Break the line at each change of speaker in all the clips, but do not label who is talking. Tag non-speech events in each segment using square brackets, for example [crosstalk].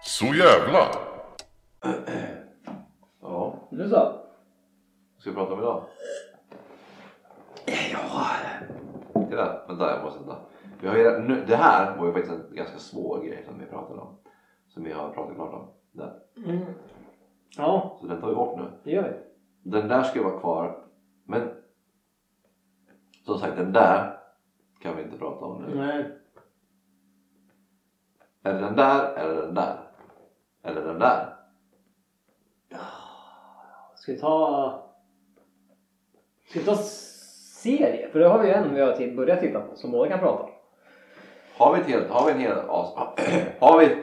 Så jävla!
Ja,
Nu så.
vad ska vi prata om idag? Ja... Det där, vänta jag måste vänta. Vi har ju, redan- nu, det här var ju faktiskt en ganska svår grej som vi pratade om. Som vi har pratat klart om. Där.
Mm. Ja,
Så den tar vi bort nu.
det gör vi.
Den där ska vara kvar. Men som sagt den där kan vi inte prata om nu.
Nej.
Är det den där eller den där? Eller den där?
Ska vi ta... Ska vi ta serie? För det har vi ju en vi har till- börjat titta på som båda kan prata om.
Har vi, ett helt, har vi en hel as, Har vi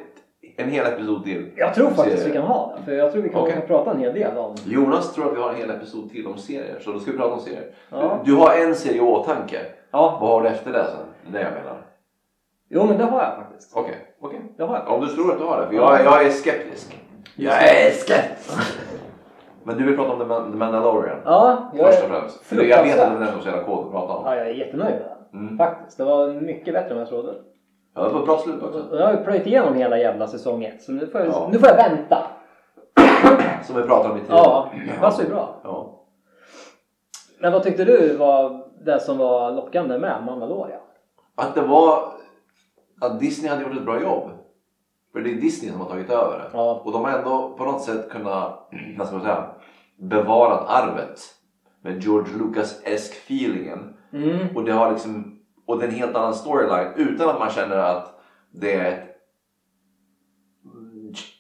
en hel episod till?
Jag tror
om
faktiskt
serier?
vi kan ha den. För jag tror vi kan
Okej.
prata en hel del om...
Jonas tror att vi har en hel episod till om serier, så då ska vi prata om serier.
Ja.
Du har en serie i åtanke.
ja.
Vad har du efter det sen? Det är det jag menar.
Jo men det har jag faktiskt.
Okej, okej.
Det har jag.
Om du tror att du har det, för jag, jag är skeptisk. Jag är skeptisk! Men du vill prata om The, Man- The Mandalorian?
Ja, jag
Först och
är,
främst. För jag vet att den är så jävla kod att prata om.
ja, jag är jättenöjd med den.
Mm.
Faktiskt. Det var mycket bättre än vad jag trodde.
Ja, det var ett bra slut också.
Jag har ju plöjt igenom hela jävla säsong ett. Så nu får jag,
Ja.
nu får jag vänta.
Som vi pratade om i tiden.
Ja, Alltså, det passar ju bra.
Ja.
Men vad tyckte du var det som var lockande med Mandalorian?
Att det var... Att Disney hade gjort ett bra jobb. För det är Disney som har tagit över det.
Ja.
Och de har ändå på något sätt kunnat, [clears throat] vad ska man säga, bevarat arvet. Med George Lucas-esk feelingen.
Mm.
Och det har liksom, och det är en helt annan storyline utan att man känner att det är ett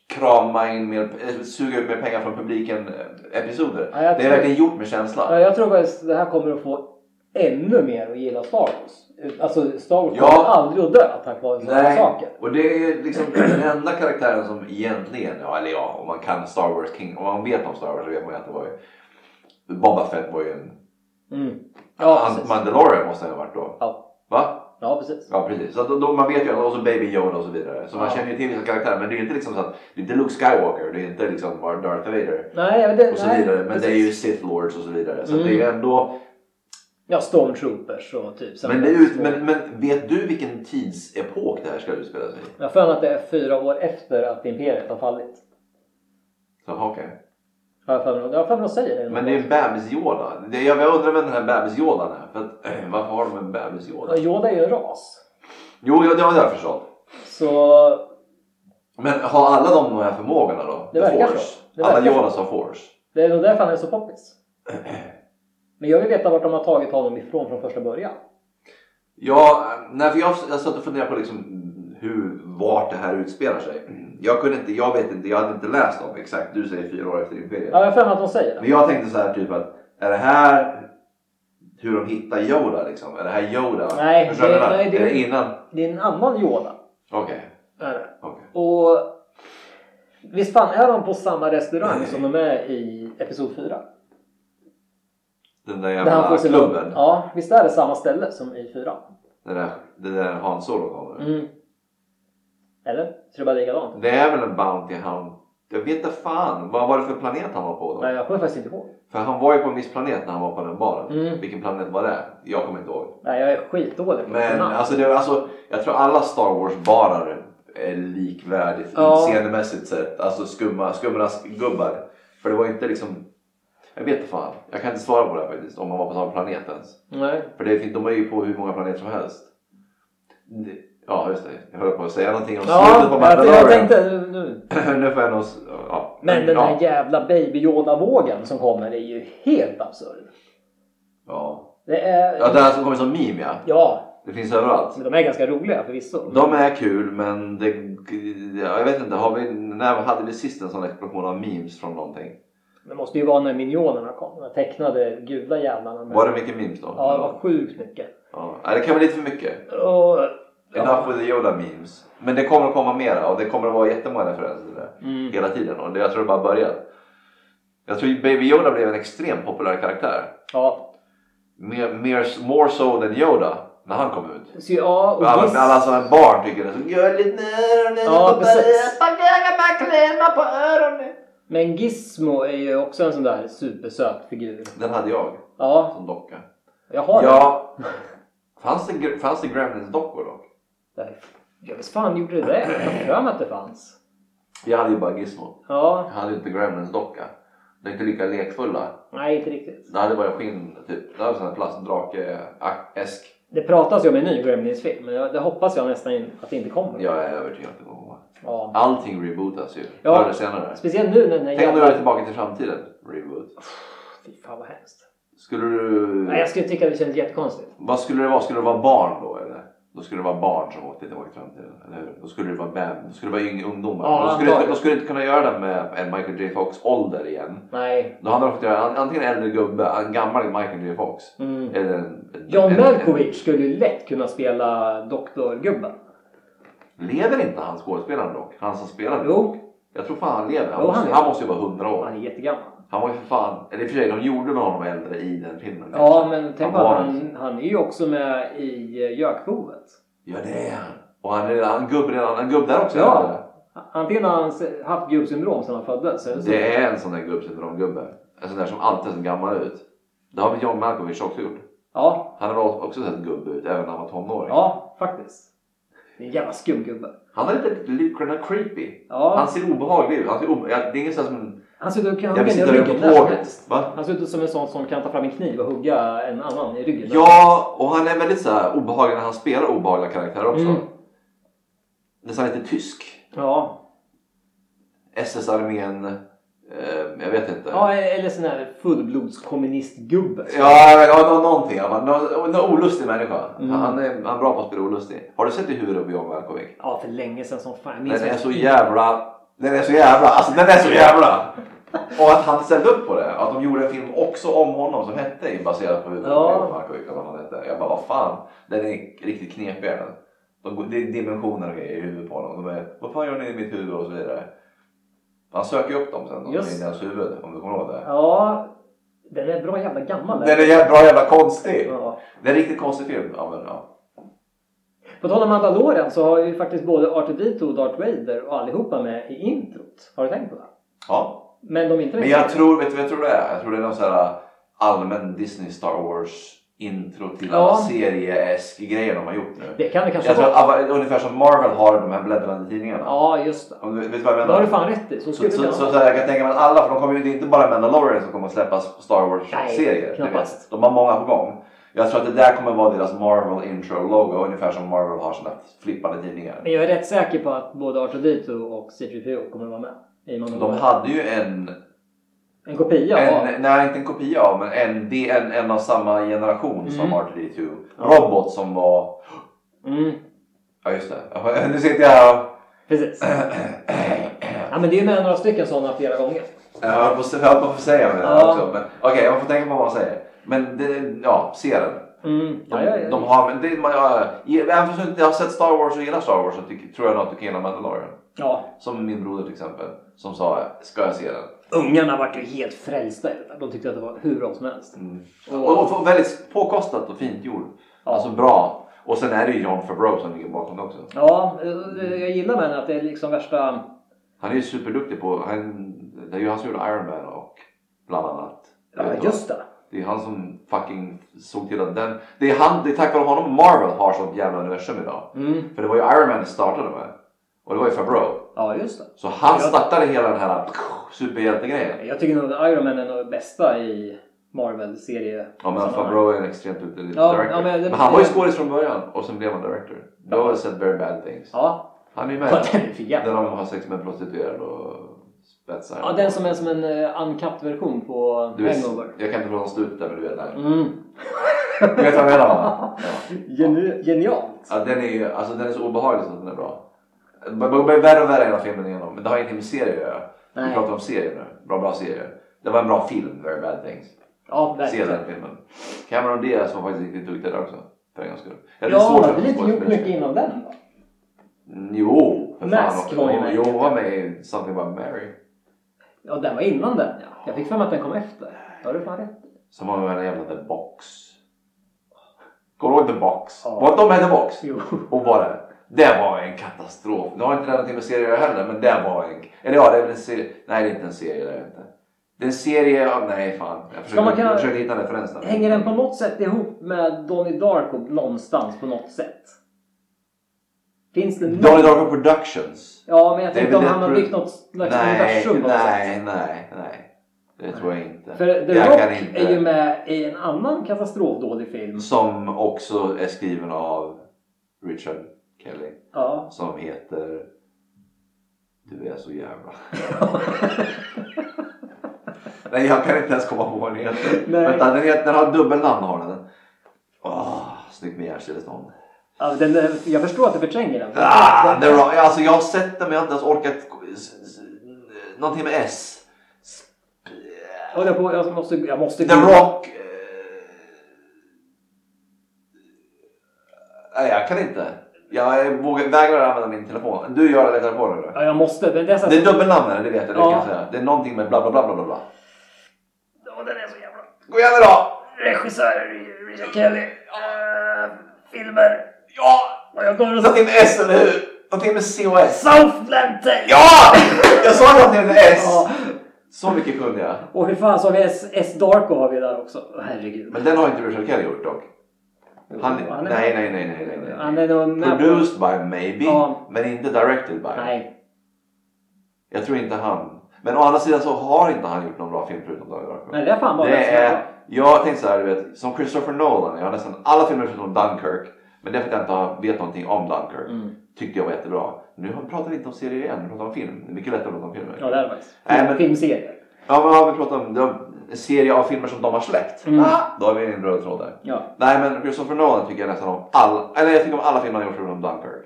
krama in mer, eh, suga ut mer pengar från publiken eh, episoder.
Ja,
det
jag
är
tror-
verkligen gjort med känsla.
Ja, jag tror faktiskt det här kommer att få ännu mer att gilla Star Wars. Alltså Star Wars
Ja.
kommer aldrig att dö tack vare sådana
Nej,
saker.
och det är liksom den enda karaktären som egentligen, ja eller ja, om man kan Star Wars King, om man vet om Star Wars så vet man ju att det var ju Boba Fett var ju en...
Mm. Ja,
han,
precis.
Mandalorian måste han ha varit då.
Ja.
Va?
ja, precis.
Ja precis, så att då, då, man vet ju och så Baby Yoda och så vidare. Så man
Ja.
känner ju till vissa karaktärer men det är ju inte liksom så att det är inte Luke Skywalker, det är inte liksom bara Darth Vader
Nej, jag vet inte.
och så
nej,
vidare. Men det är ju
precis.
Sith Lords och så vidare. Så
Mm.
att det är ju ändå...
Ja, Stormtroopers och typ.
Men, det är ju, men, men vet du vilken tidsepok det här ska utspela sig i?
Jag har för mig att det är fyra år efter att Imperiet har fallit.
Jaha okej.
Har jag för mig. Jag har för mig att de säger det.
Men det är ju en bebis-Yoda. Det- Jag, jag undrar vem den här bebis-Yodan är. För att, eh, varför har de en bebis-Yoda?
Ja, Yoda är ju en ras.
Jo, ja, det har jag förstått.
Så
Men har alla de de här förmågorna då?
Det verkar
force?
så. Det
alla
verkar så.
Yodas har force?
det är nog därför han är så poppis. Men jag vill veta vart de har tagit honom ifrån från första början.
Ja, eh, nej, för jag, jag satt och funderade på liksom hur, vart det här utspelar sig. Jag kunde inte, jag vet inte, jag hade inte läst om exakt, du säger fyra år efter Imperiet.
Ja, jag har för mig att de säger
Men
det.
jag tänkte så här typ att, är det här hur de hittar Yoda liksom? Är det här Yoda?
Nej,
Förstår du
det-
vad jag menar?
nej, det-
Är det innan?
Det är en annan Yoda.
Okej,
Är det.
okej.
Och visst fan är de på samma restaurang som de är i Episod 4?
Den där
Där han får
jävla
sin-
klubben.
Ja, visst är det samma ställe som i 4?
Den där, den där Han Solo kommer.
Mm. Eller? Så det bara är likadant?
Det är väl en Bounty Hound? Jag vet inte fan, vad var det för planet han var på då?
Nej, jag kommer faktiskt inte ihåg.
För han var ju på en viss planet när han var på den baren.
Mm.
Vilken planet var det? Jag kommer inte ihåg.
Nej, jag är skitdålig på
Men
namn.
alltså, det, alltså, jag tror alla Star Wars-barar är likvärdigt
Ja.
scenemässigt sett. Alltså skumma, skumma gubbar. För det var ju inte liksom... Jag vet inte fan. Jag kan inte svara på det här faktiskt. Om man var på samma planet ens.
Nej.
För det, fin- de är ju på hur många planeter som helst. Det- Ja, just det. Jag höll på att säga någonting om slutet på
Ja, jag,
Mandalorian.
jag tänkte nu.
nu får jag nog... s- Ja.
Men den
ja.
här jävla baby Yoda-vågen som kommer är ju helt absurd.
Ja.
Det är...
ja, det här som kommer som meme ja.
Ja,
Det finns överallt.
men de är ganska roliga förvisso.
De är kul men det, jag vet inte, har vi, när hade vi sist en sån explosion av memes från någonting?
Det måste ju vara när minionerna kom. De här tecknade gula jävlarna. med-
Var det mycket memes då?
Ja, det var sjukt mycket.
Ja. Nej, det kan bli lite för mycket.
Och,
Enough
ja.
with the Yoda memes. Men det kommer att komma mera och det kommer att vara jättemånga referenser till det.
Mm.
Hela tiden och det, jag tror det bara börjat. Jag tror Baby Yoda blev en extremt populär karaktär.
ja.
Mer, mer, more so than Yoda när han kom ut.
Så, ja, och
För alla,
visst-
alla som är barn tycker det är så gulligt med öronen.
Ja,
och
precis.
bara, "Pappa, klämma på öronen.
Men Gizmo är ju också en sån där supersöt figur.
Den hade jag
Ja,
som docka.
jag har den.
Ja. Fanns det, gr- fanns det Gremlins dockor då?
Där. Jag visst fan gjorde det det? Jag har för mig att det fanns.
Jag hade ju bara Gizmo. Jag
Ja,
hade ju inte Gremlins docka. De är inte lika lekfulla.
nej inte riktigt.
Det hade bara skinn, typ. Det hade sån här plastdrake-äsk.
Det pratas ju om en ny Gremlins-film, men jag- det hoppas jag nästan in, att det inte kommer.
Jag är övertygad att det kommer vara.
Ja.
Allting rebootas ju.
Ja.
Förr eller senare.
Speciellt nu när den här
Tänk om du är
jävla...
tillbaka till framtiden. Reboot.
Fy fan vad hemskt.
Skulle du...
Nej, jag skulle tycka att det kändes jättekonstigt.
Vad skulle det vara? Skulle det vara barn då eller? Då skulle det vara barn som åkte tillbaka till framtiden, eller hur? Då skulle det vara bam. Då skulle det vara yngre ungdomar.
Ja,
då, skulle inte,
antagligen.
då skulle du inte kunna göra det med en Michael J Fox ålder igen.
Nej.
Då hade de fått göra an- antingen en äldre gubbe, en gammal Michael J Fox.
Mm.
Eller en... en
John
en-
Malkovich skulle ju lätt kunna spela doktorgubben.
en- Lever inte han skådespelaren dock? Han som spelade?
Jo,
Jag tror fan han lever. Han,
Jo,
måste,
han
han,
lever.
måste ju vara 100 år.
han är jättegammal.
Han var ju för fan... Eller i och för sig, de gjorde med honom äldre i den filmen.
Ja, men tänk på
var
att
liksom-
han, han är ju också med i eh, Gökboet.
Ja, det är han. Och han är redan en gubb redan. En gubb där också?
Ja.
eller?
Antingen har han s- haft gubbsyndrom sedan han föddes. Eller så.
Det är en sån där gubbsyndromgubbe. En sån där som alltid ser gammal ut. Det har väl John Malkovich också gjort.
Ja,
Han har väl också sett gubbe ut även när han var tonåring.
ja, faktiskt. Det är en jävla skum gubbe.
Han är lite, lite kind of creepy. Han
Ja,
ser obehaglig ut. Han ser obe... ja, Det är ingen sån här som...
han ser ut att kunna
Jag vill
hugga
sitta
ner
över på
ryggen när som helst.
tåget. Va?
Han ser ut som en sån som kan ta fram en kniv och hugga en annan i ryggen.
Ja, och han är väldigt så här obehaglig när han spelar obehagliga karaktärer också.
Mm.
Nästan lite tysk.
Ja.
SS-armén. Eh, jag vet inte.
ja, eller sån här fullblodskommunistgubbe.
Ja, ja nå- någonting. Han var en olustig människa.
Mm.
Han, är, han är bra på att spela olustig. Har du sett i huvudet på John Malkovich?
Ja, för länge sedan som fan. Jag minns
Den är
inte.
så jävla... Den är så jävla... Alltså den är så jävla! Och att han ställde upp på det. Att de gjorde en film också om honom som hette baserat på huvudet
Ja.
på Markovic, eller vad han hette. Jag bara, vad fan. Den är riktigt knepig den. De, går- det är dimensioner och grejer i huvudet på honom. De är, vad fan gör ni i mitt huvud och så vidare. Han söker ju upp dem sen, de som
Just.
är i hans huvud. Om du kommer ihåg det.
Ja, den är bra jävla gammal.
Den är jävla, bra jävla konstig.
Ja.
Det är en riktigt konstig film. Ja, men, ja.
På tal om Mandaloren så har ju faktiskt både R2D2 och Darth Vader och allihopa med i introt. Har du tänkt på det?
ja.
Men de är inte med
Men
i
jag
serien.
tror, vet du vad jag tror det är? Jag tror det är någon sån här äh, allmän Disney Star Wars intro till
Ja.
alla seriesk grejer de har gjort nu.
Det kan det kanske
Jag tror
vara.
att, ungefär som Marvel har de här bläddrande tidningarna.
Ja, just det.
Om du, vet du vad jag
Det
menar?
har du fan rätt i. Så
så,
skulle
så,
det
så,
kunna
så,
vara.
här, jag kan tänka mig att alla, för de kommer ju det är inte bara Mandalorian som kommer att släppas Star
Nej,
Wars-serier. du vet.
knappast.
De har många på gång. Jag tror att det där kommer vara deras Marvel intro-logo, ungefär som Marvel har sina flippande tidningar.
Men jag är rätt säker på att både R2D2 och C3PO kommer vara med i
De
Mandaloren.
hade ju en
En kopia av...
En, nej, inte en kopia av, men en, det är en, en av samma generation som
Mm.
R2D2. Robot som var...
Mm,
Ja, just det. Nu sitter jag här [clears throat] och...
precis. Ja, men det är ju med några stycken sådana flera gånger.
Jag höll på att se- jag höll på att säga med det
Ja.
här också. men Okej, man får tänka på vad man säger. Men det, ja, se den.
Mm.
De,
Ja, ja, ja.
de har... men Det, man, ja, ja. även fast du inte har sett Star Wars och gillar Star Wars så tycker, tror jag nog att du kan gilla Mandalorian.
ja.
Som min broder till exempel. Som sa, ska jag se den?
Ungarna vart ju helt frälsta i det där. De tyckte att det var hur bra som helst.
Mm.
Och-
Och, och få- väldigt påkostat och fint gjort.
Ja.
Alltså bra. Och sen är det ju John Favreau som ligger bakom det också.
Ja, eh, jag gillar med den att det är liksom värsta...
Han är ju superduktig på, han, det är ju han som gjorde Iron Man och bland annat.
Ja,
Vet du
just det.
vad? Det är han som fucking såg till att den, det är, han, det är tack vare honom Marvel har sånt jävla universum idag.
Mm.
För det var ju Iron Man det startade med. Och det var ju Favreau.
Ja, just det.
Så han
Ja.
startade hela den här superhjältegrejen.
Jag tycker nog att Iron Man är nog det bästa i Marvel-serie.
Ja men
sammanhang.
Favreau är en extremt duktig
Ja,
director.
ja, men
men,
det-
han var ju
det-
skådis från början och sen blev han director. Då har jag sett Very Bad Things.
Ja,
Han är ju
[laughs] ja
med
den är för jävla
när de har sex med en prostituerad och spetsar.
Ja, den som är som en uh, uncut version på
Du vet,
Hangover.
jag kan inte prata om slutet där men du vet det.
Mm.
Du vet vad jag menar va? Ja.
Geni- genialt!
[laughs] Ja, den, är ju, alltså, den är så obehaglig så att den är bra. Det blir värre och värre hela filmen igenom. Men det har ingenting med serier att göra. Vi
Nej.
pratar om serier nu. Bra, bra serier. Det var en bra film, Very Bad Things.
Ja,
Se
verkligen.
den filmen. Cameron Diaz var faktiskt riktigt duktig där också. För en gångs skull. Jag hade svårt
Ja,
för
det är inte gjort
skådespelare.
mycket innan den va?
Mm, Jo, för
Mask
fan.
var ju
Jo,
med.
Jo, hon var med i Something About Mary.
Ja, den var innan den ja. Jag fick för mig att den kom efter. Ja, du fan rätt.
Som var med i den jävla The Box. Kommer du ihåg The Box?
Ja.
Var inte de med i The Box?
Jo.
Och bara, det var en katastrof. Nu har inte det någonting med serier att göra heller, men det var en... Eller ja, det är väl en serie. Nej, det är inte en serie. Det är det inte. Det är en serie av... Nej, fan. Jag försöker,
man kunna-
jag försöker hitta en referens där.
Hänger den på något sätt ihop med Donnie Darko någonstans på något sätt? Finns det
Donnie
någon?
Darko Productions.
Ja, men jag
Det är
tänkte
väl
om
ett
han har
pro-
byggt något slags
nej,
universum på något
nej,
sätt.
nej, nej. Det tror jag inte.
För The
jag kan
Rock
inte.
är ju med i en annan katastrofdålig film.
Som också är skriven av Richard Kelly.
Ja.
Som heter Du är så jävla... [laughs] Nej, jag kan inte ens komma på vad den heter.
Nej.
Vänta, den, heter, den har dubbelnamn har den. Åh, snyggt med hjärnstillestånd.
ja den, jag förstår att du förtränger den.
Ah,
Den-
det var, alltså jag har sett den men jag har inte ens orkat... s- s- Någonting med S.
Jag håller på, jag måste... Jag måste
The Rock... eh, Nej, jag kan inte. Jag vågar, vägrar använda min telefon. Du gör det i telefonen eller?
Ja, jag måste. Men det är så här-
Det är dubbelnamn det vet jag. Det
Ja.
kan jag säga. Det är någonting med bla bla bla bla bla, bla.
Ja, den är så jävla...
Gå igen idag!
Regissör Richard Kelly. Eh, filmer. Ja! Och jag kommer att säga
Någonting med S eller hur? Någonting med COS.
Southland Tales.
Ja! Jag sa någonting med S!
Ja.
Så mycket kunde jag.
Och hur fan så har vi S, S Darko har vi där också. Herregud.
Men den har inte Richard Kelly gjort dock. Han,
Jo,
nej,
han är-
nej, nej, nej, nej, nej.
Han är nog med på-
Produced by maybe,
Ja.
men inte directed by.
Nej.
Jag tror inte han. Men å andra sidan så har inte han gjort någon bra film förutom Donnie Darko.
Nej, det är fan bara
Det
den som är bra.
är, jag tänkte så här, du vet, som Christopher Nolan. Jag har nästan alla filmer förutom Dunkirk. Men det är för att jag inte har- vet någonting om Dunkirk.
Mm.
Tyckte jag var jättebra. Nu pratar vi inte om serier igen, vi pratar om film. Det är mycket lättare att prata om filmer.
Ja, det är det faktiskt.
Nej, men-
Filmserier.
Ja, men vad vi pratar om, de, en serie av filmer som de har släppt.
Mm.
Ah, då har vi en röd tråd där.
Ja.
Nej men Christopher Nolan tycker jag nästan om alla, eller jag tycker om alla filmer han gjort förutom Dunkirk.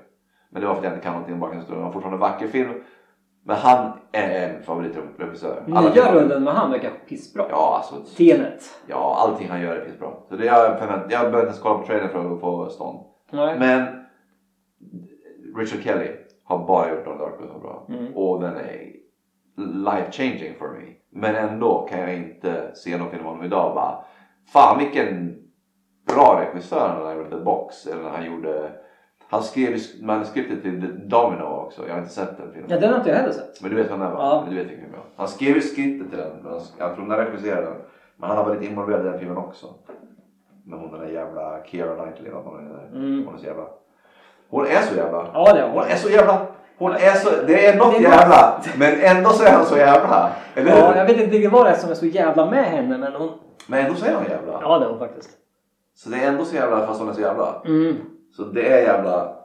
Men det var för att jag inte kan någonting om bakgrundshistorien. Det var fortfarande en vacker film. Men han är en favoritregissör. Alla
Nya
filmer-
rullen med han verkar pissbra.
Ja, alltså.
Tenet.
Ja, allting han gör är finns bra. Så det jag, förvänt, jag behöver inte ens kolla på trailern för att få stånd.
Nej.
Men Richard Kelly har bara gjort Donnie Darko så bra.
Mm.
Och den är life changing for me. Men ändå kan jag inte se någon film om honom idag och bara Fan vilken bra regissör han har gjort The Box. Eller när han gjorde Han skrev ju manuskriptet till The Domino också. Jag har inte sett den filmen.
Ja, den har inte jag heller sett.
Men du vet vem det var?
Ja.
Du vet vilken film det var. Han skrev ju skriptet till den. men han- Jag tror han regisserade den. Men han har varit involverad i den filmen också. Med hon den där jävla Keira Knightley. eller vad Hon är,
Mm.
hon är så jävla... Hon är så jävla.
Ja, det har
Hon
hon.
är så jävla... Hon är så... Det är något
Det är något.
jävla. Men ändå så är hon så jävla. Eller
Ja,
hur?
jag vet inte riktigt vad det är som är så jävla med henne, men hon...
Men ändå så är hon jävla.
Ja, det är hon faktiskt.
Så det är ändå så jävla fast hon är så jävla.
Mm.
Så det är jävla...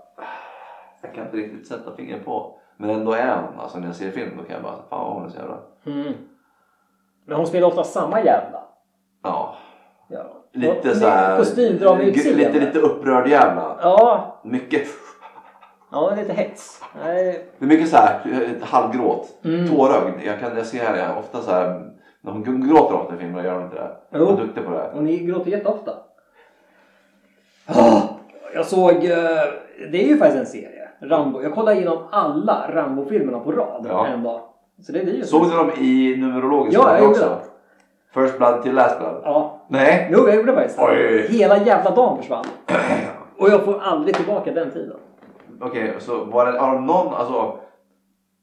Jag kan inte riktigt sätta fingret på. Men ändå är hon. Alltså när jag ser film då kan jag bara... Fan hon är så jävla.
Mm. Men hon spelar ofta samma jävla.
Ja.
Ja.
Lite
Och-
så här,
Kostymdrama i
gu-
exil,
Lite,
eller?
lite upprörd jävla.
Ja,
Mycket.
ja lite hets. Nej.
Det är mycket så här eh, halvgråt.
Mm.
Tårögd. Jag, kan, jag ser det ofta så här. När hon gråter ofta i filmer gör hon inte det.
Jo.
Hon är duktig på det.
Och ni gråter jätteofta. Jag såg... eh, Det är ju faktiskt en serie. Rambo. Jag kollade igenom alla Rambo-filmerna på rad
Ja.
en dag. Så det blir ju
Såg du dem i numerologisk
Ja,
ordning
jag
också?
gjorde
First blood till last blood?
Ja.
Nej.
Jo, jag gjorde faktiskt
Oj.
det. Hela jävla dagen försvann. Och jag får aldrig tillbaka den tiden.
Okej, så var det, har de någon, alltså.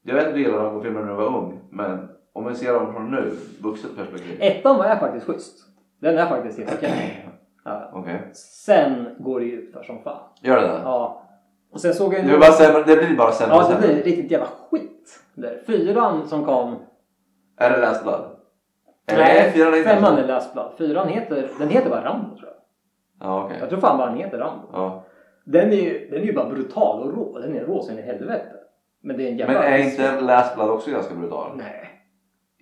Jag vet inte hur du gillade de filmer när du var ung. Men om vi ser dem från nu, vuxet perspektiv.
Ettan var jag faktiskt schysst. Den är faktiskt helt okej. Ja.
Okej,
Sen går det ju ut för som fan.
gör det där.
Ja. Och sen såg jag
Det, blir bara sämre, det blir bara sämre och
Ja, det
sämre.
blir riktigt jävla skit. Där. Fyran som kom.
Är det last blood? fyran inte
femman
så.
är Last Blood. Fyran heter, den heter bara Rambo tror jag.
Ja, okej.
Jag tror fan bara den heter Rambo.
Ja.
Den är ju, den är ju bara brutal och rå. Den är rå så in i helvete. Men det är en jävla...
Men är inte last blood också ganska brutal?
Nej.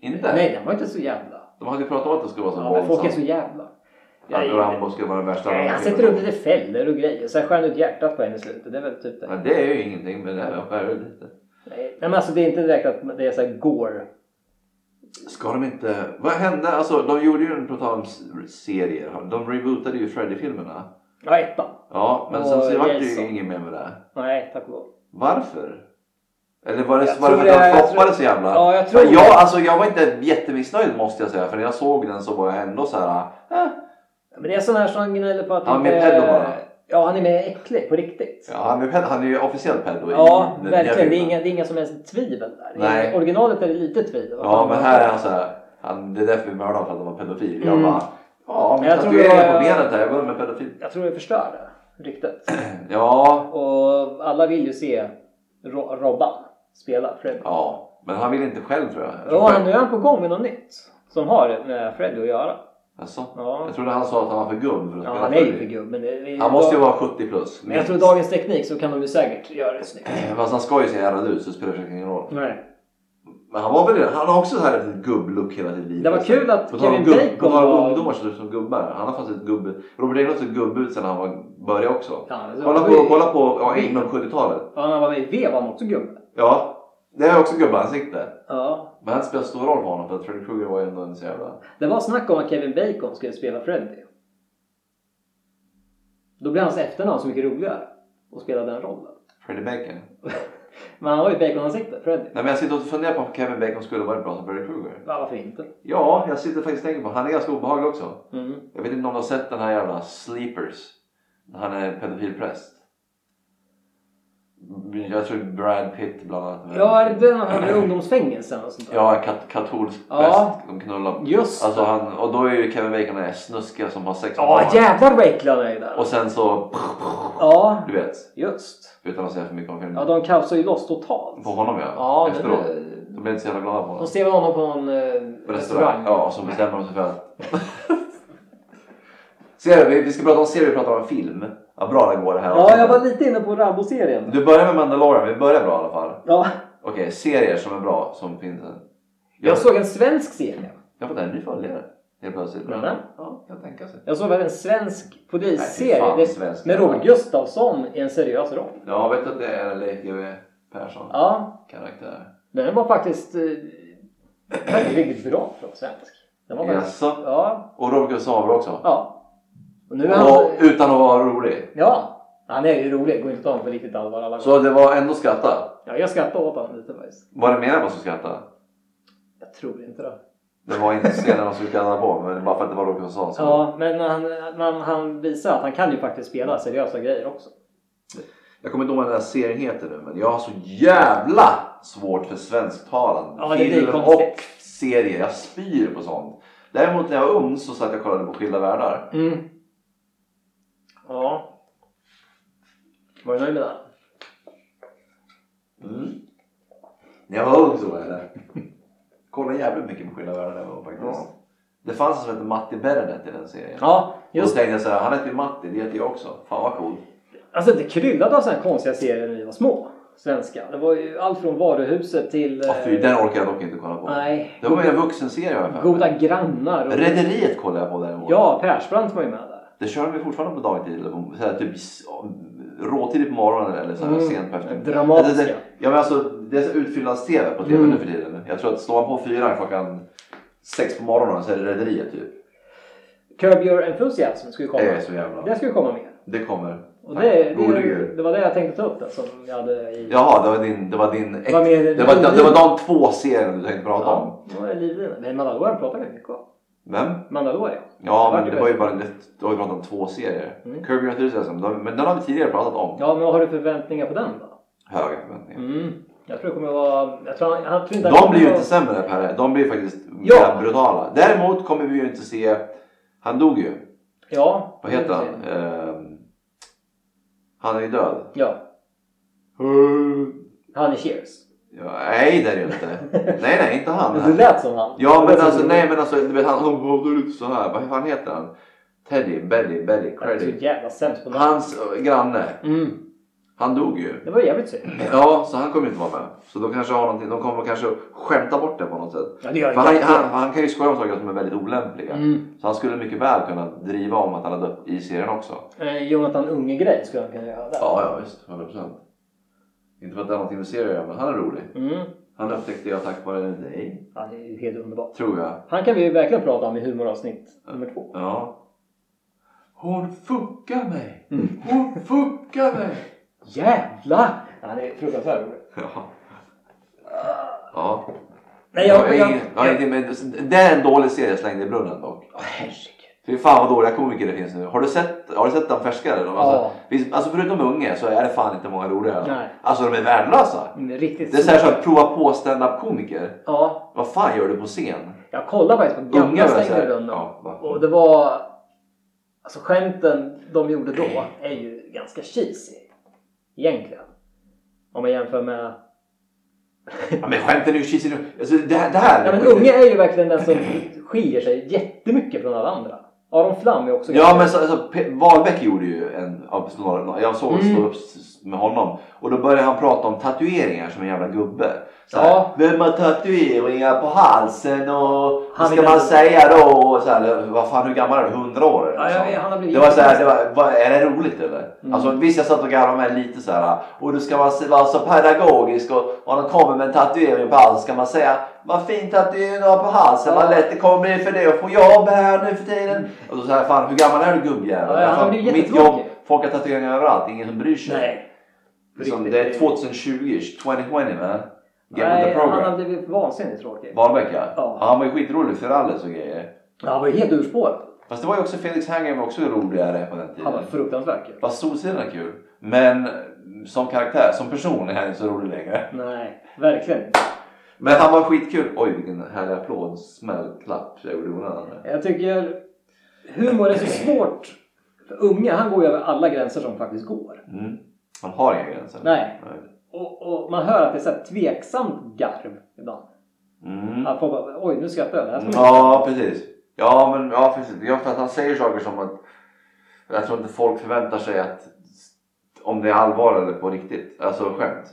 Inte?
Nej, den var inte så jävla.
De har ju pratat om att det skulle vara så
Ja, men folk är så
våldsamt.
jävla...
Att
Jag-
Rambo skulle vara den värsta
Nej, han sätter upp lite fällor och grejer. Sen skär han ut hjärtat på henne i slutet. Det är väl typ det.
Ja, det är ju ingenting men det är ju lite.
Nej, men alltså det är inte direkt att det är så här gore.
Ska de inte... Vad hände? Alltså de gjorde ju en på tal om s- serier. De rebootade ju Freddy-filmerna.
Ja, ettan.
Ja, men
Och
sen så vart det ju
Jason.
inget mer med det.
Nej, tack och lov.
Varför? Eller var det,
Jag
var det för
tror
att
jag-
de
jag
floppade
tror-
så jävla?
Ja, jag tror-
jag, alltså, jag var inte jättemissnöjd måste jag säga. För när jag såg den så var jag ändå så här... Eh,
Men det är sån här som gnäller på att
Han är
inte-
med pedo bara.
Ja, han är med äcklig på riktigt.
ja, han, är, ped- han är ju officiellt pedo. i
Ja,
den nya
verkligen. Det är,
filmen.
inga, det är inga som helst tvivel där.
Nej.
I originalet är det lite tvivel. Vad
Ja,
fan
men
var
här
det?
är han så här... Han, det är därför vi mördade honom, för att han var pedofil. Jag
Mm.
bara... Ja, men
Jag tror
tatueringen
jag-
på benet här. Jag går med pedofil.
Jag tror det förstör det. ryktet.
Ja,
Och alla vill ju se Ro- Robban spela Freddy.
ja. Men han vill inte själv tror jag. jag.
Jo,
tror
han, nu är han på gång med något nytt. Som har med Freddy att göra.
Alltså,
Ja.
Jag trodde han sa att han var för gubb för att
Ja,
spela
han är ju
Freddy.
för gubb. Men det,
Han måste ju vara 70 plus.
Men jag tror
minst.
i dagens teknik så kan de ju säkert göra det snyggt.
[clears throat] Eh, Fast han ska ju se ärrad ut så det spelar säkert ingen roll.
Nej.
Men han var väl det. Han har också så här ett gubb-look hela sitt liv.
Det var kul att
På tal om
Kevin
gubb, på
Bacon
tal om
var...
ungdomar som ser ut som gubbar. Han har faktiskt ett gubb... Robert Englund såg gubb ut sen han var, började också.
Ja, det-
Kolla på, kolla på ja, inom 70-talet.
Ja, när han var med i V var han också gubbe.
Ja, det är också gubbansikte.
Ja.
Men det spelar stor roll för honom för att Freddy Krueger var ju ändå en så jävla...
Det var snack om att Kevin Bacon skulle spela Freddy. Då blev hans efternamn så mycket roligare att spela den rollen. [laughs]
Freddy Bacon.
Men han har ju baconansikte, Freddy.
Nej men jag sitter och funderar på om Kevin Bacon skulle varit bra som Freddy Krueger.
Ja, varför inte?
Ja, jag sitter faktiskt och tänker på Han är ganska obehaglig också.
Mm.
Jag vet inte om du har sett den här jävla Sleepers. Han är pedofilpräst. Jag tror Brad Pitt bland annat.
Ja, är det den han hade i ungdomsfängelsen och sånt där?
Ja, kat- katolsk
Ja.
präst. De knullar.
Just
Alltså han, och då är ju Kevin Bacon den här snuskiga som har sex med
Ja,
barn.
jävlar vad äcklig han är där.
Och sen så...
Ja,
Du vet.
just.
Utan att säga för mycket om filmen.
Ja, de kaosar ju loss totalt.
På honom ja.
Ja, det-
Efteråt. De blev inte så jävla glada på honom.
De ser väl honom på någon
På
eh, restaurang.
restaurang. Ja, och så bestämmer de sig för att... [laughs] Ser du? Vi vi ska prata om serier, vi pratar om film. Vad bra det går det här
Ja, jag var lite inne på Rambo-serien.
Du börjar med Mandalorian, vi börjar bra i alla fall.
Ja,
Okej, serier som är bra som finns.
jag såg en svensk serie.
Jag har fått en ny följare helt plötsligt.
Nämen.
Ja, jag tänker sig.
Jag såg väl en svensk polisserie
Nej, fy fan,
det-
svensk.
med Robert Gustafsson i en seriös roll.
Ja, vet du att det är en Leif GW Persson
Ja,
karaktär?
den var faktiskt eh, väldigt, riktigt bra för att vara svensk. Den var faktiskt,
Jaså?
ja,
Och Robert Gustafsson var också?
ja. Och nu är han...
Och utan att vara rolig.
Ja, han är ju rolig. Det går inte att ta honom på riktigt allvar alla gånger.
Så det var ändå skratta?
Ja, jag skrattar åt honom lite faktiskt.
Var det mer än vad som skrattade?
Jag tror inte det.
Det var inte scenen de skulle skratta på, men det var för att det var Robert Gustafsson som...
Ja, men han, men han visar att han kan ju faktiskt spela seriösa grejer också.
Jag kommer inte ihåg vad den där serien heter nu, men jag har så jävla svårt för svensktalande
Ja, det blir
film
konstigt.
och serier. Jag spyr på sånt. Däremot när jag var ung så satt jag och kollade på Skilda Världar.
Mm. Ja. Var du nöjd med det? Mm.
När jag var ung så var jag det. [laughs] Kollade jävligt mycket på Skilda Världar när jag var ung faktiskt.
Ja.
Det fanns en som hette Matti Bernet i den serien.
Ja, just
Då tänkte jag så här, han heter ju Matti, det heter jag också. Fan vad coolt.
Alltså det kryllade av sådana här konstiga serier när vi var små. Svenska. Det var ju allt från Varuhuset till...
Ja,
eh,
fy, den orkar jag dock inte kolla på.
Nej.
Det var ju en vuxenserie har jag för mig.
Goda grannar. Och...
Rederiet kollade jag på däremot.
Ja, Persbrandt var ju med där.
Det kör vi fortfarande på dagtid eller på, så här, typ s- råtidigt på morgonen eller så här,
Mm.
sent på eftermiddagen.
Dramatiska.
Det- det- Ja men alltså det är så utfyllnads-tv på tv nu
Mm.
för tiden. Jag tror att slår man på fyran klockan sex på morgonen så är det Rederiet typ.
Curb Your Enthusiasm skulle komma.
Det är så jävla...
Det skulle komma med.
Det kommer.
Och
Tack.
det,
Eh, Gode
det,
Gud.
det var det jag tänkte ta upp där, som jag hade i...
Jaha, det var din... Det var, din ex...
Vad mer-
det, var, det, var de två serierna du tänkte prata om.
Ja, det var livlinan. Men Mandalorian pratar vi mycket om.
Vem?
Mandalorian.
Ja men
det
det var ju
bäst.
bara... Det, då har vi pratat om två serier.
Mm.
Curb Your Enthusiasm, de- men den har vi tidigare pratat om.
Ja, men vad har du för förväntningar på den då?
Höga förväntningar.
Mm. Jag tror det kommer vara... Jag tror han, han tror inte han
De
kommer
blir ju
vara-
inte sämre Per, de blir faktiskt
Ja.
mer brutala. Däremot kommer vi ju inte se, han dog ju,
Ja.
vad heter han? Ehm, han är ju död.
Ja. Han är Cheers.
Ja, nej det är det ju inte. Nej nej inte
Men du
han.
lät som han.
Ja
Det lät
men
som
alltså
du-
nej men alltså du vet han, han var lite så här. vad fan heter han? Teddy, Belly, Belly,
Jag är så
Creddy.
jävla sämst på namn.
Hans eh, granne,
Mm.
han dog ju.
Det var jävligt synd.
Ja så han kommer ju inte vara med. Så då kanske har någonting, de kommer kanske skämta bort det på något sätt.
Ja, det gör
För han,
jag
han, han kan ju skoja om saker som är väldigt olämpliga.
Mm.
Så han skulle mycket väl kunna driva om att han hade dött i serien också.
Eh, Jonathan Unge-grej skulle han kunna göra där.
Ja, ja visst. 100 procent. Inte för att det har någonting med serien att göra, men han är rolig.
Mm.
Han upptäckte jag tack vare dig,
Han är ju helt underbar.
tror jag.
Han kan vi ju verkligen prata om i humoravsnitt nummer två.
Ja. Hon fuckar mig!
Mm.
Hon fuckar mig!
Jävlar! Han är fruktansvärt rolig.
[laughs] ja. Ja.
Nej, jag...
har
jag,
ingen- jag har ingenting med- Det är en dålig serie jag slängde i brunnen dock.
Åh, herregud.
Fy fan vad dåliga komiker det finns nu. Har du sett, har du sett de färskare? De, alltså,
Ja.
finns- alltså förutom Unge så är det fan inte många roliga.
Nej.
Alltså de är värdelösa.
Mm, Riktigt
Det är så här som att prova på stand-up komiker.
Ja,
Vad fan gör du på scen?
jag kollade faktiskt på
Unga
gamla
var så här-
Stängda Brunnen.
Ja, va.
Och det var... Alltså skämten de gjorde då är ju ganska cheesy. Egentligen. Om man jämför med...
Ja, men skämten är ju cheesy nu. Alltså det här... Det här
Ja men Unge är ju verkligen den som skiljer sig jättemycket från alla andra. Aron Flam är också
Ja men så, alltså, Pe- Wahlbeck gjorde ju en, ja, precis, några- några- jag såg
Mm.
stå upp s- s- med honom och då började han prata om tatueringar som en jävla gubbe. Så här,
Ja.
Vem har tatueringar på halsen och
Han
vad
är
ska
den-
man säga då? Och så här, vad fan hur gammal är du? 100 år eller
Ja,
så?
ja, ja, han har blivit
Det var så här, det var, vad- är det roligt eller?
Mm.
Alltså visst jag satt och garvade med lite så här. och då ska man se- vara så pedagogisk och om de kommer med en tatuering på halsen ska man säga vad fin tatuering du har på halsen,
Ja.
vad lätt det kommer bli för dig att få jobb här nu för tiden. Och då så här, fan hur gammal är du gubbjävel?
Mm. Ja, ja, han
Fan,
blir
mitt
jättetråkig.
jobb, folk har tatueringar överallt, ingen som bryr sig.
Nej.
liksom,
Riktigt.
det är 2020 2020 man. Get with
Nej,
the
han har
program.
blivit vansinnigt tråkig.
Wahlbeck ja.
Ja.
Han var ju skitrolig för alles och grejer.
Ja, han var ju helt ur spåret.
Fast det var ju också Felix Herngren var också roligare på den tiden.
Han var fruktansvärt kul.
Fast Solsidan är kul. Men som karaktär, som person är han inte så rolig längre.
Nej, verkligen inte.
Men han var skitkul. Oj vilken härlig applåd, smäll, klapp jag gjorde onödan. där.
Jag tycker humor är så svårt. För Unge, han går ju över alla gränser som faktiskt går.
Mm. Man har inga gränser.
Nej. Och, och man hör att det är så här tveksamt garv ibland.
Mm.
Att folk bara, oj nu skrattar jag. Det här ska man inte-
Ja precis. Ja men ja precis. Ja, för att han säger saker som att jag tror inte folk förväntar sig att om det är allvar eller på riktigt. Alltså skämt.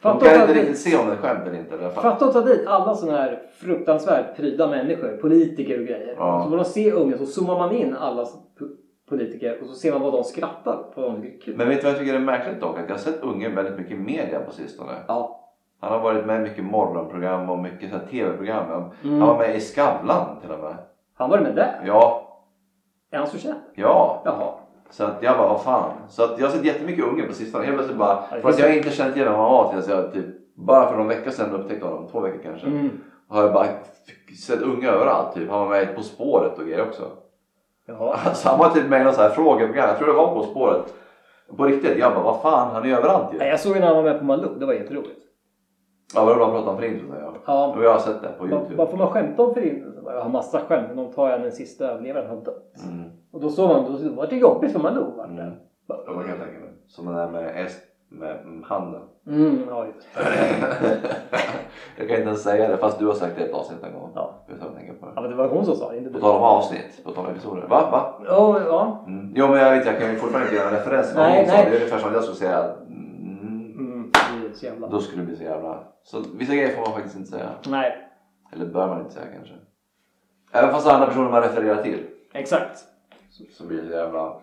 Fatta
De
att
kan
han-
inte riktigt se om det är skämt eller inte. i alla fall.
Fatta att ta dit alla sådana här fruktansvärt pryda människor, politiker och grejer.
Ja.
Så får de se unga så zoomar man in alla s- po- politiker och så ser man vad de skrattar på. Vad de tycker är kul.
Men vet du vad jag tycker är märkligt dock? Att jag har sett Ungern väldigt mycket i media på sistone.
Ja.
Han har varit med i mycket morgonprogram och mycket så här tv-program. Han
Mm.
var med i Skavlan till och med.
Han var med där.
Ja,
Är han så känd?
ja.
Jaha.
Så att jag bara, vad fan. Så att jag har sett jättemycket Ungern på sistone. Helt plötsligt bara,
Ja, det
för att
finns-
jag inte känt igen honom av tills jag typ, bara för någon vecka sedan upptäckte honom, två veckor kanske.
Mm.
Har jag bara sett unga överallt typ. Han var med i På spåret och grejer också. [laughs]
Jaha.
Alltså han var typ med i någon så här frågeprogram. Jag tror det var På spåret. På riktigt. Jag bara, vad fan han är överallt ju.
Nej, Jag såg ju när han var med på Malou. Det var jätteroligt.
Ja, vad det var pratat om Förintelsen ja.
Ja.
Och jag har sett det på
Vad,
Youtube.
vad får man skämta om Förintelsen? Jag har massa skämt. Men de tar jag den sista överlevaren har dött.
Mm.
Och då såg man, då var det jobbigt för Malou. vart det.
Mm. Ja, man kan tänka mig. Som den där med, S, med mm,
[laughs]
handen.
Mm, ja, just. det.
jag kan inte ens säga det fast du har sagt det i ett avsnitt en gång.
Ja.
Utan att tänka på det.
ja, men det var hon som sa det, inte du.
På tal om avsnitt, på tal om episoder. Va? Va?
Ja, ja.
Mm. Jo men jag vet, jag kan ju fortfarande inte göra en referens till vad
Nej,
hon sa.
nej.
Det är ungefär som att jag skulle säga mm,
Mm, det är så jävla...
Då skulle det bli så jävla... Så vissa grejer får man faktiskt inte säga.
Nej,
Eller bör man inte säga kanske. Även fast andra personer man refererar till
Exakt.
så, så blir det så jävla...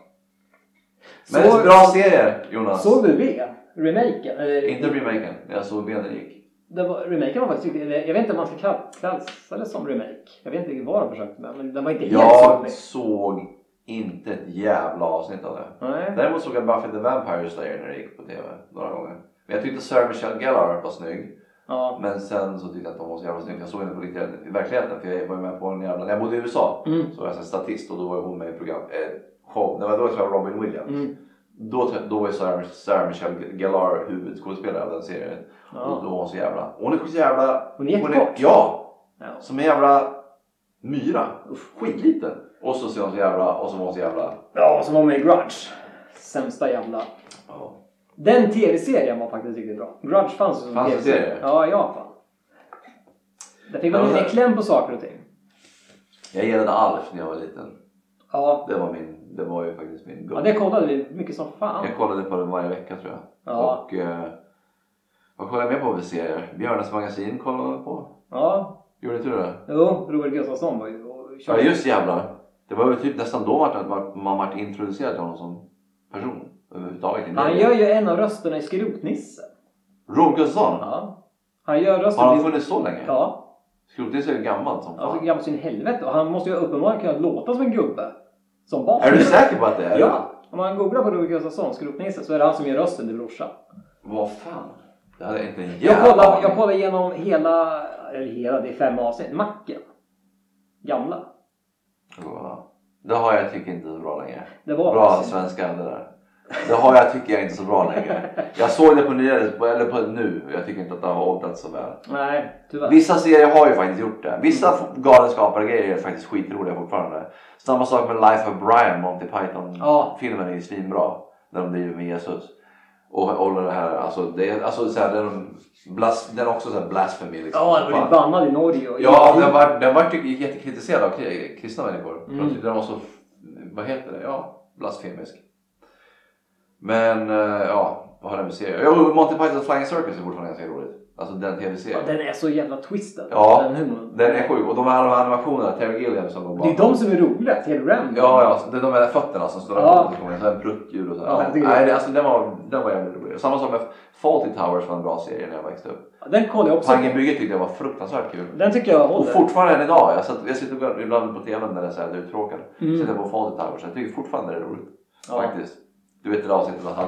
Så-
Men det är bra serier Jonas!
Såg du V? Remaken? Eller,
Inte remaken, jag såg benen gick.
Det var, remaken var faktiskt riktigt... eller Jag vet inte om man ska kall- klassa det som remake. Jag vet inte riktigt vad de försökte med. Men den var inte helt
Jag
zombie.
såg inte ett jävla avsnitt av det.
Nej.
Däremot såg jag Buffy the Vampire Slayer när det gick på TV några gånger. Men jag tyckte Sarah Michelle Gellar var snygg.
Ja.
Men sen så tyckte jag inte hon var så jävla snygg. Jag såg henne på riktigt i verkligheten. För jag var ju med på en jävla... När jag bodde i USA
Mm.
så var jag en statist och då var ju hon med i program... Eh, show. Det var då jag träffade Robin Williams.
Mm.
Då, då var ju Sarah, Sarah Michelle Gellar huvudskådespelare av den serien. Och
Ja.
då var hon så jävla... Hon är så jävla...
Hon är jättekort.
Ja!
Ja.
Som en jävla myra. Usch, Skitliten. Och så ser hon så jävla... Och så var hon så jävla...
ja, som var med i Grudge. Sämsta jävla...
Ja.
Den tv-serien var faktiskt riktigt bra. Grudge fanns ju som
Fanns det
tv-serie.
serier?
Ja, i Japan. Där fick man
Ja,
lite
men-
kläm på saker och ting.
Jag gillade Alf när jag var liten.
Ja.
Det var min... Det var ju faktiskt min
ja,
gubbe.
det kollade vi mycket som fan.
Jag kollade på den varje vecka tror jag.
Ja.
Och... Eh, vad kollade jag mer på för serier? Björnes magasin kollade jag på.
Ja.
Gjorde inte du det?
Jo, Robert Gustafsson var ju... och
Ja
körde-
just jävlar. Det var väl typ nästan då vart- vart man vart introducerad till honom som person. Överhuvudtaget. i
Han
media.
gör ju en av rösterna i Skrotnisse.
Robert Gustafsson?
Ja. Han gör rösten
Har han
till-
funnits så länge?
Ja.
Skrotnisse är ju gammalt som
Han
fan.
fick gammal sin helvete och han måste ju uppenbarligen kunna låta som en gubbe. Som barn.
Är du säker på att det är det?
Ja. Om man googlar på Robert Gustafsson, Skrotnisse, så är det han som gör rösten till brorsan.
Vad fan? Det hade jag inte en
Jag
jävla
kollar,
aning.
jag kollar igenom hela, eller hela, det är fem avsnitt, Macken. Gamla.
Ja. Det har jag tycker inte är så bra längre.
Det var
Bra svenska det där. Det har jag tycker jag inte så bra längre. Jag såg det på nya, på- eller på nu och jag tycker inte att det har åldrats så väl.
Nej, tyvärr.
Vissa serier har ju faktiskt gjort det. Vissa
Mm.
galenskaper grejer är faktiskt skitroliga fortfarande. Samma sak med Life of Brian, Monty
Ja.
Python-filmen är ju svinbra. När de driver med Jesus. Och håller det här, alltså, det är, alltså så här, den, blas, den är också så här blasphemy liksom.
Ja, den var ju
Fan.
bannad i Norge och
Ja, den var, den var ju jättekritiserad av kri- kristna människor. För
Mm.
att Den var så, vad heter det, ja, blasfemisk. Men eh, ja, vad har den med serier? Jo, Monty Python's Flying Circus är fortfarande ganska roligt. Alltså den
Ja,
tv-serien.
Den är så jävla twisted.
Ja,
den humorn.
Den är sjuk och de här animationerna, Terry Gilliam som var
Det är de som är roliga. Ted Ram.
Ja, ja, det är de där fötterna som står
Ja.
där på ja. pruttdjur och så. här.
Ja, jag tycker
Nej,
det.
det, alltså, den, var, den var jävligt rolig. Samma sak med Fawlty Towers var en bra serie när jag växte upp.
Den kollar jag också.
Pangenbygget tyckte jag var fruktansvärt kul.
Den tycker jag
Och
håller.
fortfarande än idag. Jag, satt, jag sitter ibland på tvn när jag är så här uttråkad.
Mm.
Sitter på Fawlty Towers. Jag tycker fortfarande det är roligt.
Ja.
Faktiskt. Du vet det där avsnittet att han...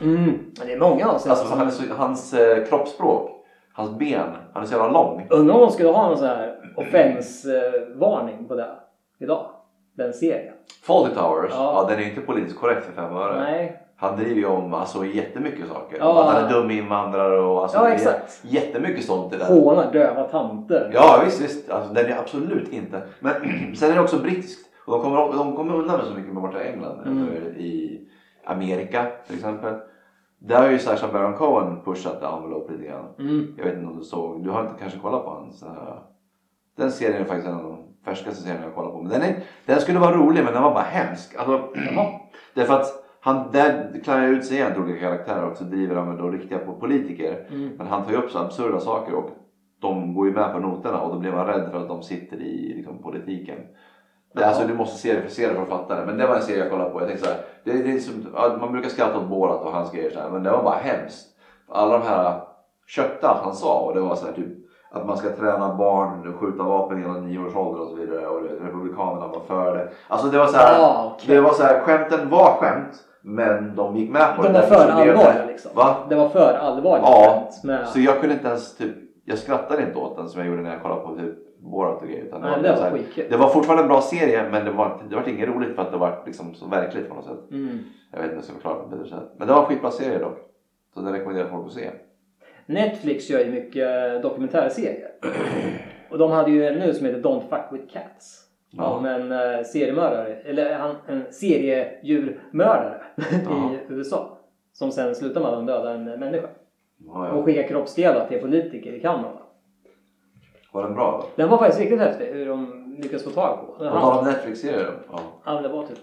Mm. Men Det är många avsnitt.
Alltså
som-
han är så, hans eh, kroppsspråk. Hans ben. Han är så jävla lång.
Undrar om de skulle ha någon sån här offensvarning på det idag. Den serien.
Fawlty Towers. Ja.
Ja.
den är ju inte politiskt korrekt för fem öre.
Nej.
Han driver ju om alltså, jättemycket saker.
Ja.
Att han är dum invandrare och alltså,
Ja,
det är
exakt.
jättemycket sånt i den.
Hånar döva tanter.
Ja visst, visst. Alltså, den är absolut inte. Men [clears throat] sen är det också brittiskt. Och de kommer, de kommer undan med så mycket med borta i England.
Mm.
Eller I Amerika till exempel. Där har ju Sacha Baron Cohen pushat the envelope lite grann.
Mm.
Jag vet inte om du såg, du har inte kanske kollat på hans... Här, den serien är faktiskt en av de färskaste serierna jag kollat på. Men den, är, den skulle vara rolig men den var bara hemsk. Alltså, [clears throat] därför att han där klär jag ut sig igen till olika karaktärer och så driver han med då riktiga på politiker.
Mm.
Men han tar ju upp så absurda saker och de går ju med på noterna och då blir man rädd för att de sitter i liksom, politiken. Det, alltså,
Ja.
du måste se det för, se det för att fatta det. Men det var en serie jag kollade på. Jag tänkte så här, det, det är som, ja, man brukar skratta åt Borat och hans grejer så här, men det var bara hemskt. Alla de här köpte allt han sa och det var så här, typ att man ska träna barn och skjuta vapen innan nio års ålder och så vidare. Och du vet, republikanerna var för det. Alltså det var så här,
Ja, okej.
det var så här, skämten var skämt men de gick med på
De
det.
var för
Så blev det-
allvarliga liksom.
Va?
Det var för allvarligt.
Ja,
Med...
Så jag kunde inte ens typ, jag skrattade inte åt den som jag gjorde när jag kollade på typ Borat och grejer. Utan
Nej, det
så
var
här-
skitkul.
det var fortfarande en bra serie men det var, det var inget roligt för att det var liksom så verkligt på något sätt.
Mm.
Jag vet inte hur jag ska förklara det på ett bättre sätt. Men det var en skitbra serie dock. Så den rekommenderar jag folk att
[clears throat]
se.
Netflix gör ju mycket dokumentärserier. Och de hade ju en nu som heter Don't fuck with cats.
Ja.
Om en eh, seriemördare, eller han, en seriedjurmördare [laughs]
Ja.
i USA. Som sen slutar med att han dödar en människa.
Ja,
Och
ja.
skickar kroppsdelar till politiker i Kanada.
Var den bra då?
Den var faktiskt riktigt häftig hur de lyckas få tag på. Den
På tal
han,
om Netflix-serier då? ja.
ja, det var typ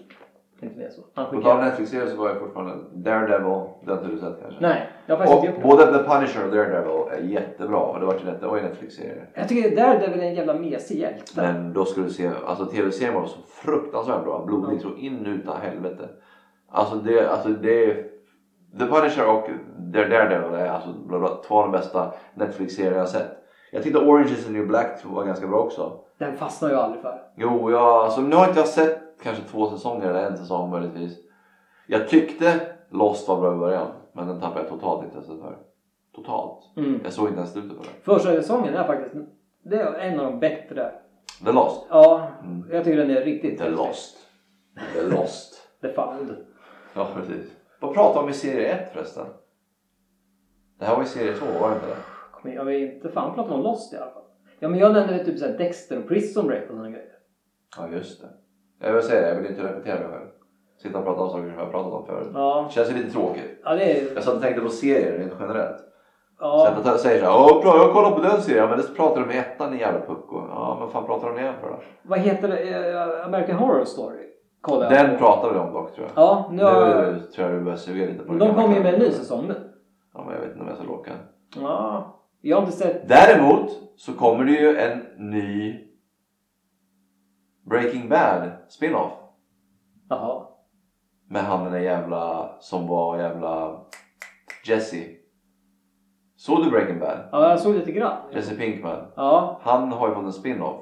inte mer så. Han
På tal om
skickade...
Netflix-serier så var jag fortfarande Daredevil. Den har du sett kanske?
Nej, jag har faktiskt inte
Och
gjort det.
både The Punisher och Daredevil är jättebra. Och det var ju net- det var ju Netflix-serier.
Jag tycker det där det är väl en jävla mesig hjälte.
Men då skulle du se, alltså tv-serien var så fruktansvärt bra. Blodig så in utan helvete. Alltså det, alltså det The Punisher och The Daredevil är alltså bland de två av de bästa Netflix-serier jag har sett. Jag tyckte Orange is the new black var ganska bra också.
Den fastnar ju aldrig för.
Jo, jag, alltså, nu har inte jag sett kanske två säsonger eller en säsong möjligtvis. Jag tyckte Lost var bra i början men den tappade jag totalt intresset för. Totalt.
Mm.
Jag såg inte ens slutet på den.
Första säsongen är faktiskt det är en av de bättre.
The Lost.
Ja,
Mm.
jag tycker den är riktigt
The Lost. The Lost.
The Found.
Ja, precis. Vad pratade vi om i serie 1 förresten? Det här var ju serie 2, var det inte det?
Kom igen, Jag vill inte fan prata om Lost i alla fall. Ja men jag nämnde typ såhär Dexter och Prison Break och sådana grejer.
Ja, just det. Jag vill säga det, jag vill inte repetera mig själv. Sitta och prata om saker som jag har pratat om förut.
Ja,
Det känns ju lite tråkigt.
ja det är
Jag satt och tänkte på serier rent generellt. Så
ja.
att jag säger såhär, åh bra jag kollar på den serien, men det pratar de om i ettan i jävla pucko. Ja, men fan pratar de om den för då?
Vad heter det? Eh, American Horror Story? Kolla.
Den pratar vi om dock tror jag.
Ja, nu har...
Nu tror jag vi börjar suga lite på den
De
gamla
kommer ju med en ny
karaktären.
säsong nu.
Ja, men jag vet inte om jag är så lockad.
Ja. Jag har inte sett...
Däremot så kommer det ju en ny Breaking Bad spin-off.
Jaha.
Med han den där jävla som var jävla Jesse. Såg du Breaking Bad?
Ja, jag såg lite grann.
Jesse Pinkman.
Ja,
Han har ju fått en spin-off.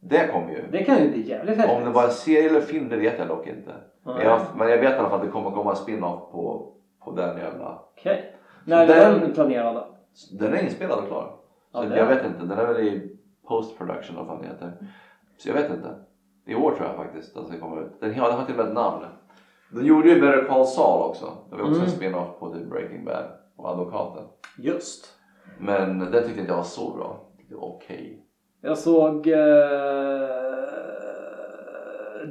Det kommer ju.
det kan ju bli jävligt häftigt.
Om det var en serie eller film det vet jag dock inte. Men jag, men jag vet i alla fall att det kommer komma en spin-off på, på den jävla...
Okej. När
Den-
är den planerad då?
Den är inspelad och klar. Så
Ja, det är
jag vet inte. Den är väl i post production vad fan det heter. Så jag vet inte. I år tror jag faktiskt att den ska komma ut. Den har, den har till och med ett namn. De gjorde ju Better Call Saul också. Det var också en
Mm.
spin-off på typ Breaking Bad och Advokaten.
Just.
Men den tyckte inte jag var så bra. Det var okej.
Jag såg eh,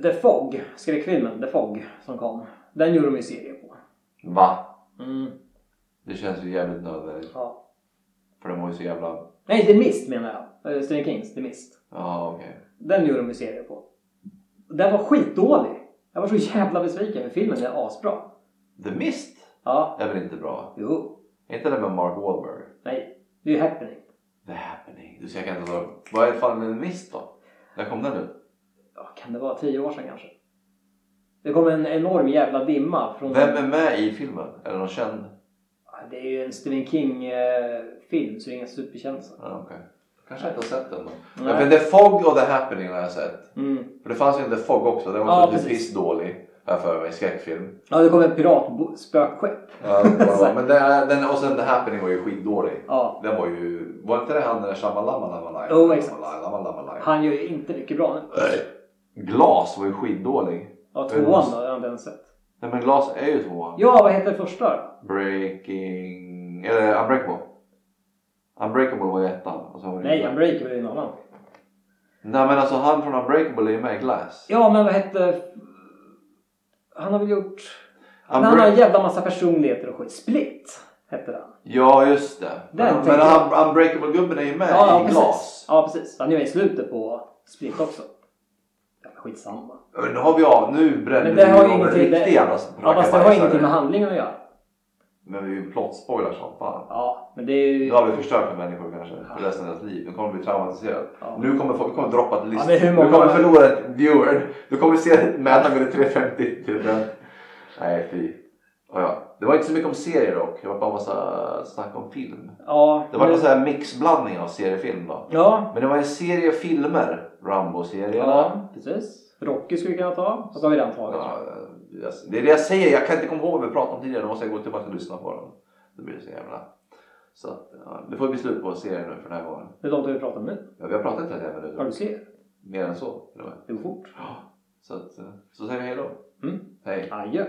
The Fog, skräckfilmen The Fog som kom. Den gjorde de ju serie på.
Va?
Mm.
Det känns ju jävligt nödvändigt.
Ja.
För de var ju så jävla...
Nej, The Mist menar jag. Eh, Stephen Kings The Mist.
Ja, okej.
Den gjorde de ju serie på. Den var skitdålig. Jag var så jävla besviken för filmen är asbra.
The Mist
Ja.
är väl inte bra?
Jo.
Är inte den med Mark Wahlberg?
Nej. Det är ju happening.
The Happening. Du ser, jag kan inte ta... Vad är fan med The Mist då? När kom den ut?
Ja, kan det vara tio år sedan kanske? Det kom en enorm jävla dimma från...
Vem är med i filmen? Är det någon känd?
Ja, Det är ju en Stephen King-film så det är inga superkändisar.
Ja, okej. Kanske jag inte har sett den då.
Nej.
Ja, för The Fog och The Happening har jag sett.
Mm.
För det fanns ju en The Fog också. Den
Ja,
var också
precis.
pissdålig. Har jag för mig. Skräckfilm.
Ja, det kom ett piratspökskepp.
Ja, det var bra. Men den, den, och sen The Happening var ju skitdålig.
Ja.
Den var ju... Var inte det han eh, den där Shamalama-lama-laj?
Jo, exakt.
Shamalama-lama-laj.
Han gör ju inte mycket bra nu.
Nej. Glas var ju skitdålig.
Ja, tvåan då har jag inte ens sett.
Nej men Glas är ju tvåan.
Ja, vad heter första då?
Breaking... Eller Unbreakable. Unbreakable var ju ettan. Och så var det
Nej,
ju-
Unbreakable är ju en annan.
Nej men alltså han från Unbreakable är ju med i Glass.
Ja, men vad hette... Han har väl gjort... Men han har
Unbreak-
en jävla massa personligheter och skit. Split hette den.
Ja just det.
Den
men men
tänker jag.
han, Unbreakable-gubben är ju med i Glas.
precis. Ja, precis. Han är ju med i slutet på Split också. Jävla Skitsamma.
Ja, Men nu har vi av... Nu bränner
Men det har
vi
ju
av en
ingenting...
riktig
Det,
jävla
ja, fast det har ju ingenting med handlingen att göra.
Men vi är ju plottspoilar som fan.
Ja, men det är ju...
Nu har vi förstört för människor kanske för resten av deras liv. De kommer bli traumatiserade.
Ja.
Nu kommer folk kommer droppa ett list.
men hur
Du
många-
kommer förlora ett viewer. Du kommer se mätaren gå till 350. till den. Nej fy. Ja, ja. Det var inte så mycket om serier dock. Det var bara massa snack om film.
Ja,
Det var en
men-
sån här mixblandning av seriefilm då.
Ja,
Men det var en serie filmer. Rambo-serierna.
ja, precis. Rocky skulle vi kunna ta. Fast det har vi redan tagit.
Ja, jag- det är det jag säger, jag kan inte komma ihåg vad vi pratade om tidigare. Då måste jag gå tillbaka och lyssna på den. Då blir det så jävla... Så att, ja, det får bli slut på serien nu för den här gången.
Det är de vi pratar om nu.
Ja, vi har pratat i 31
Har du
minuter.
ser?
Mer än så. till och med.
Det går fort.
Ja, Så, att, eh, så säger vi hej då.
Mm.
Hej.
Adjö.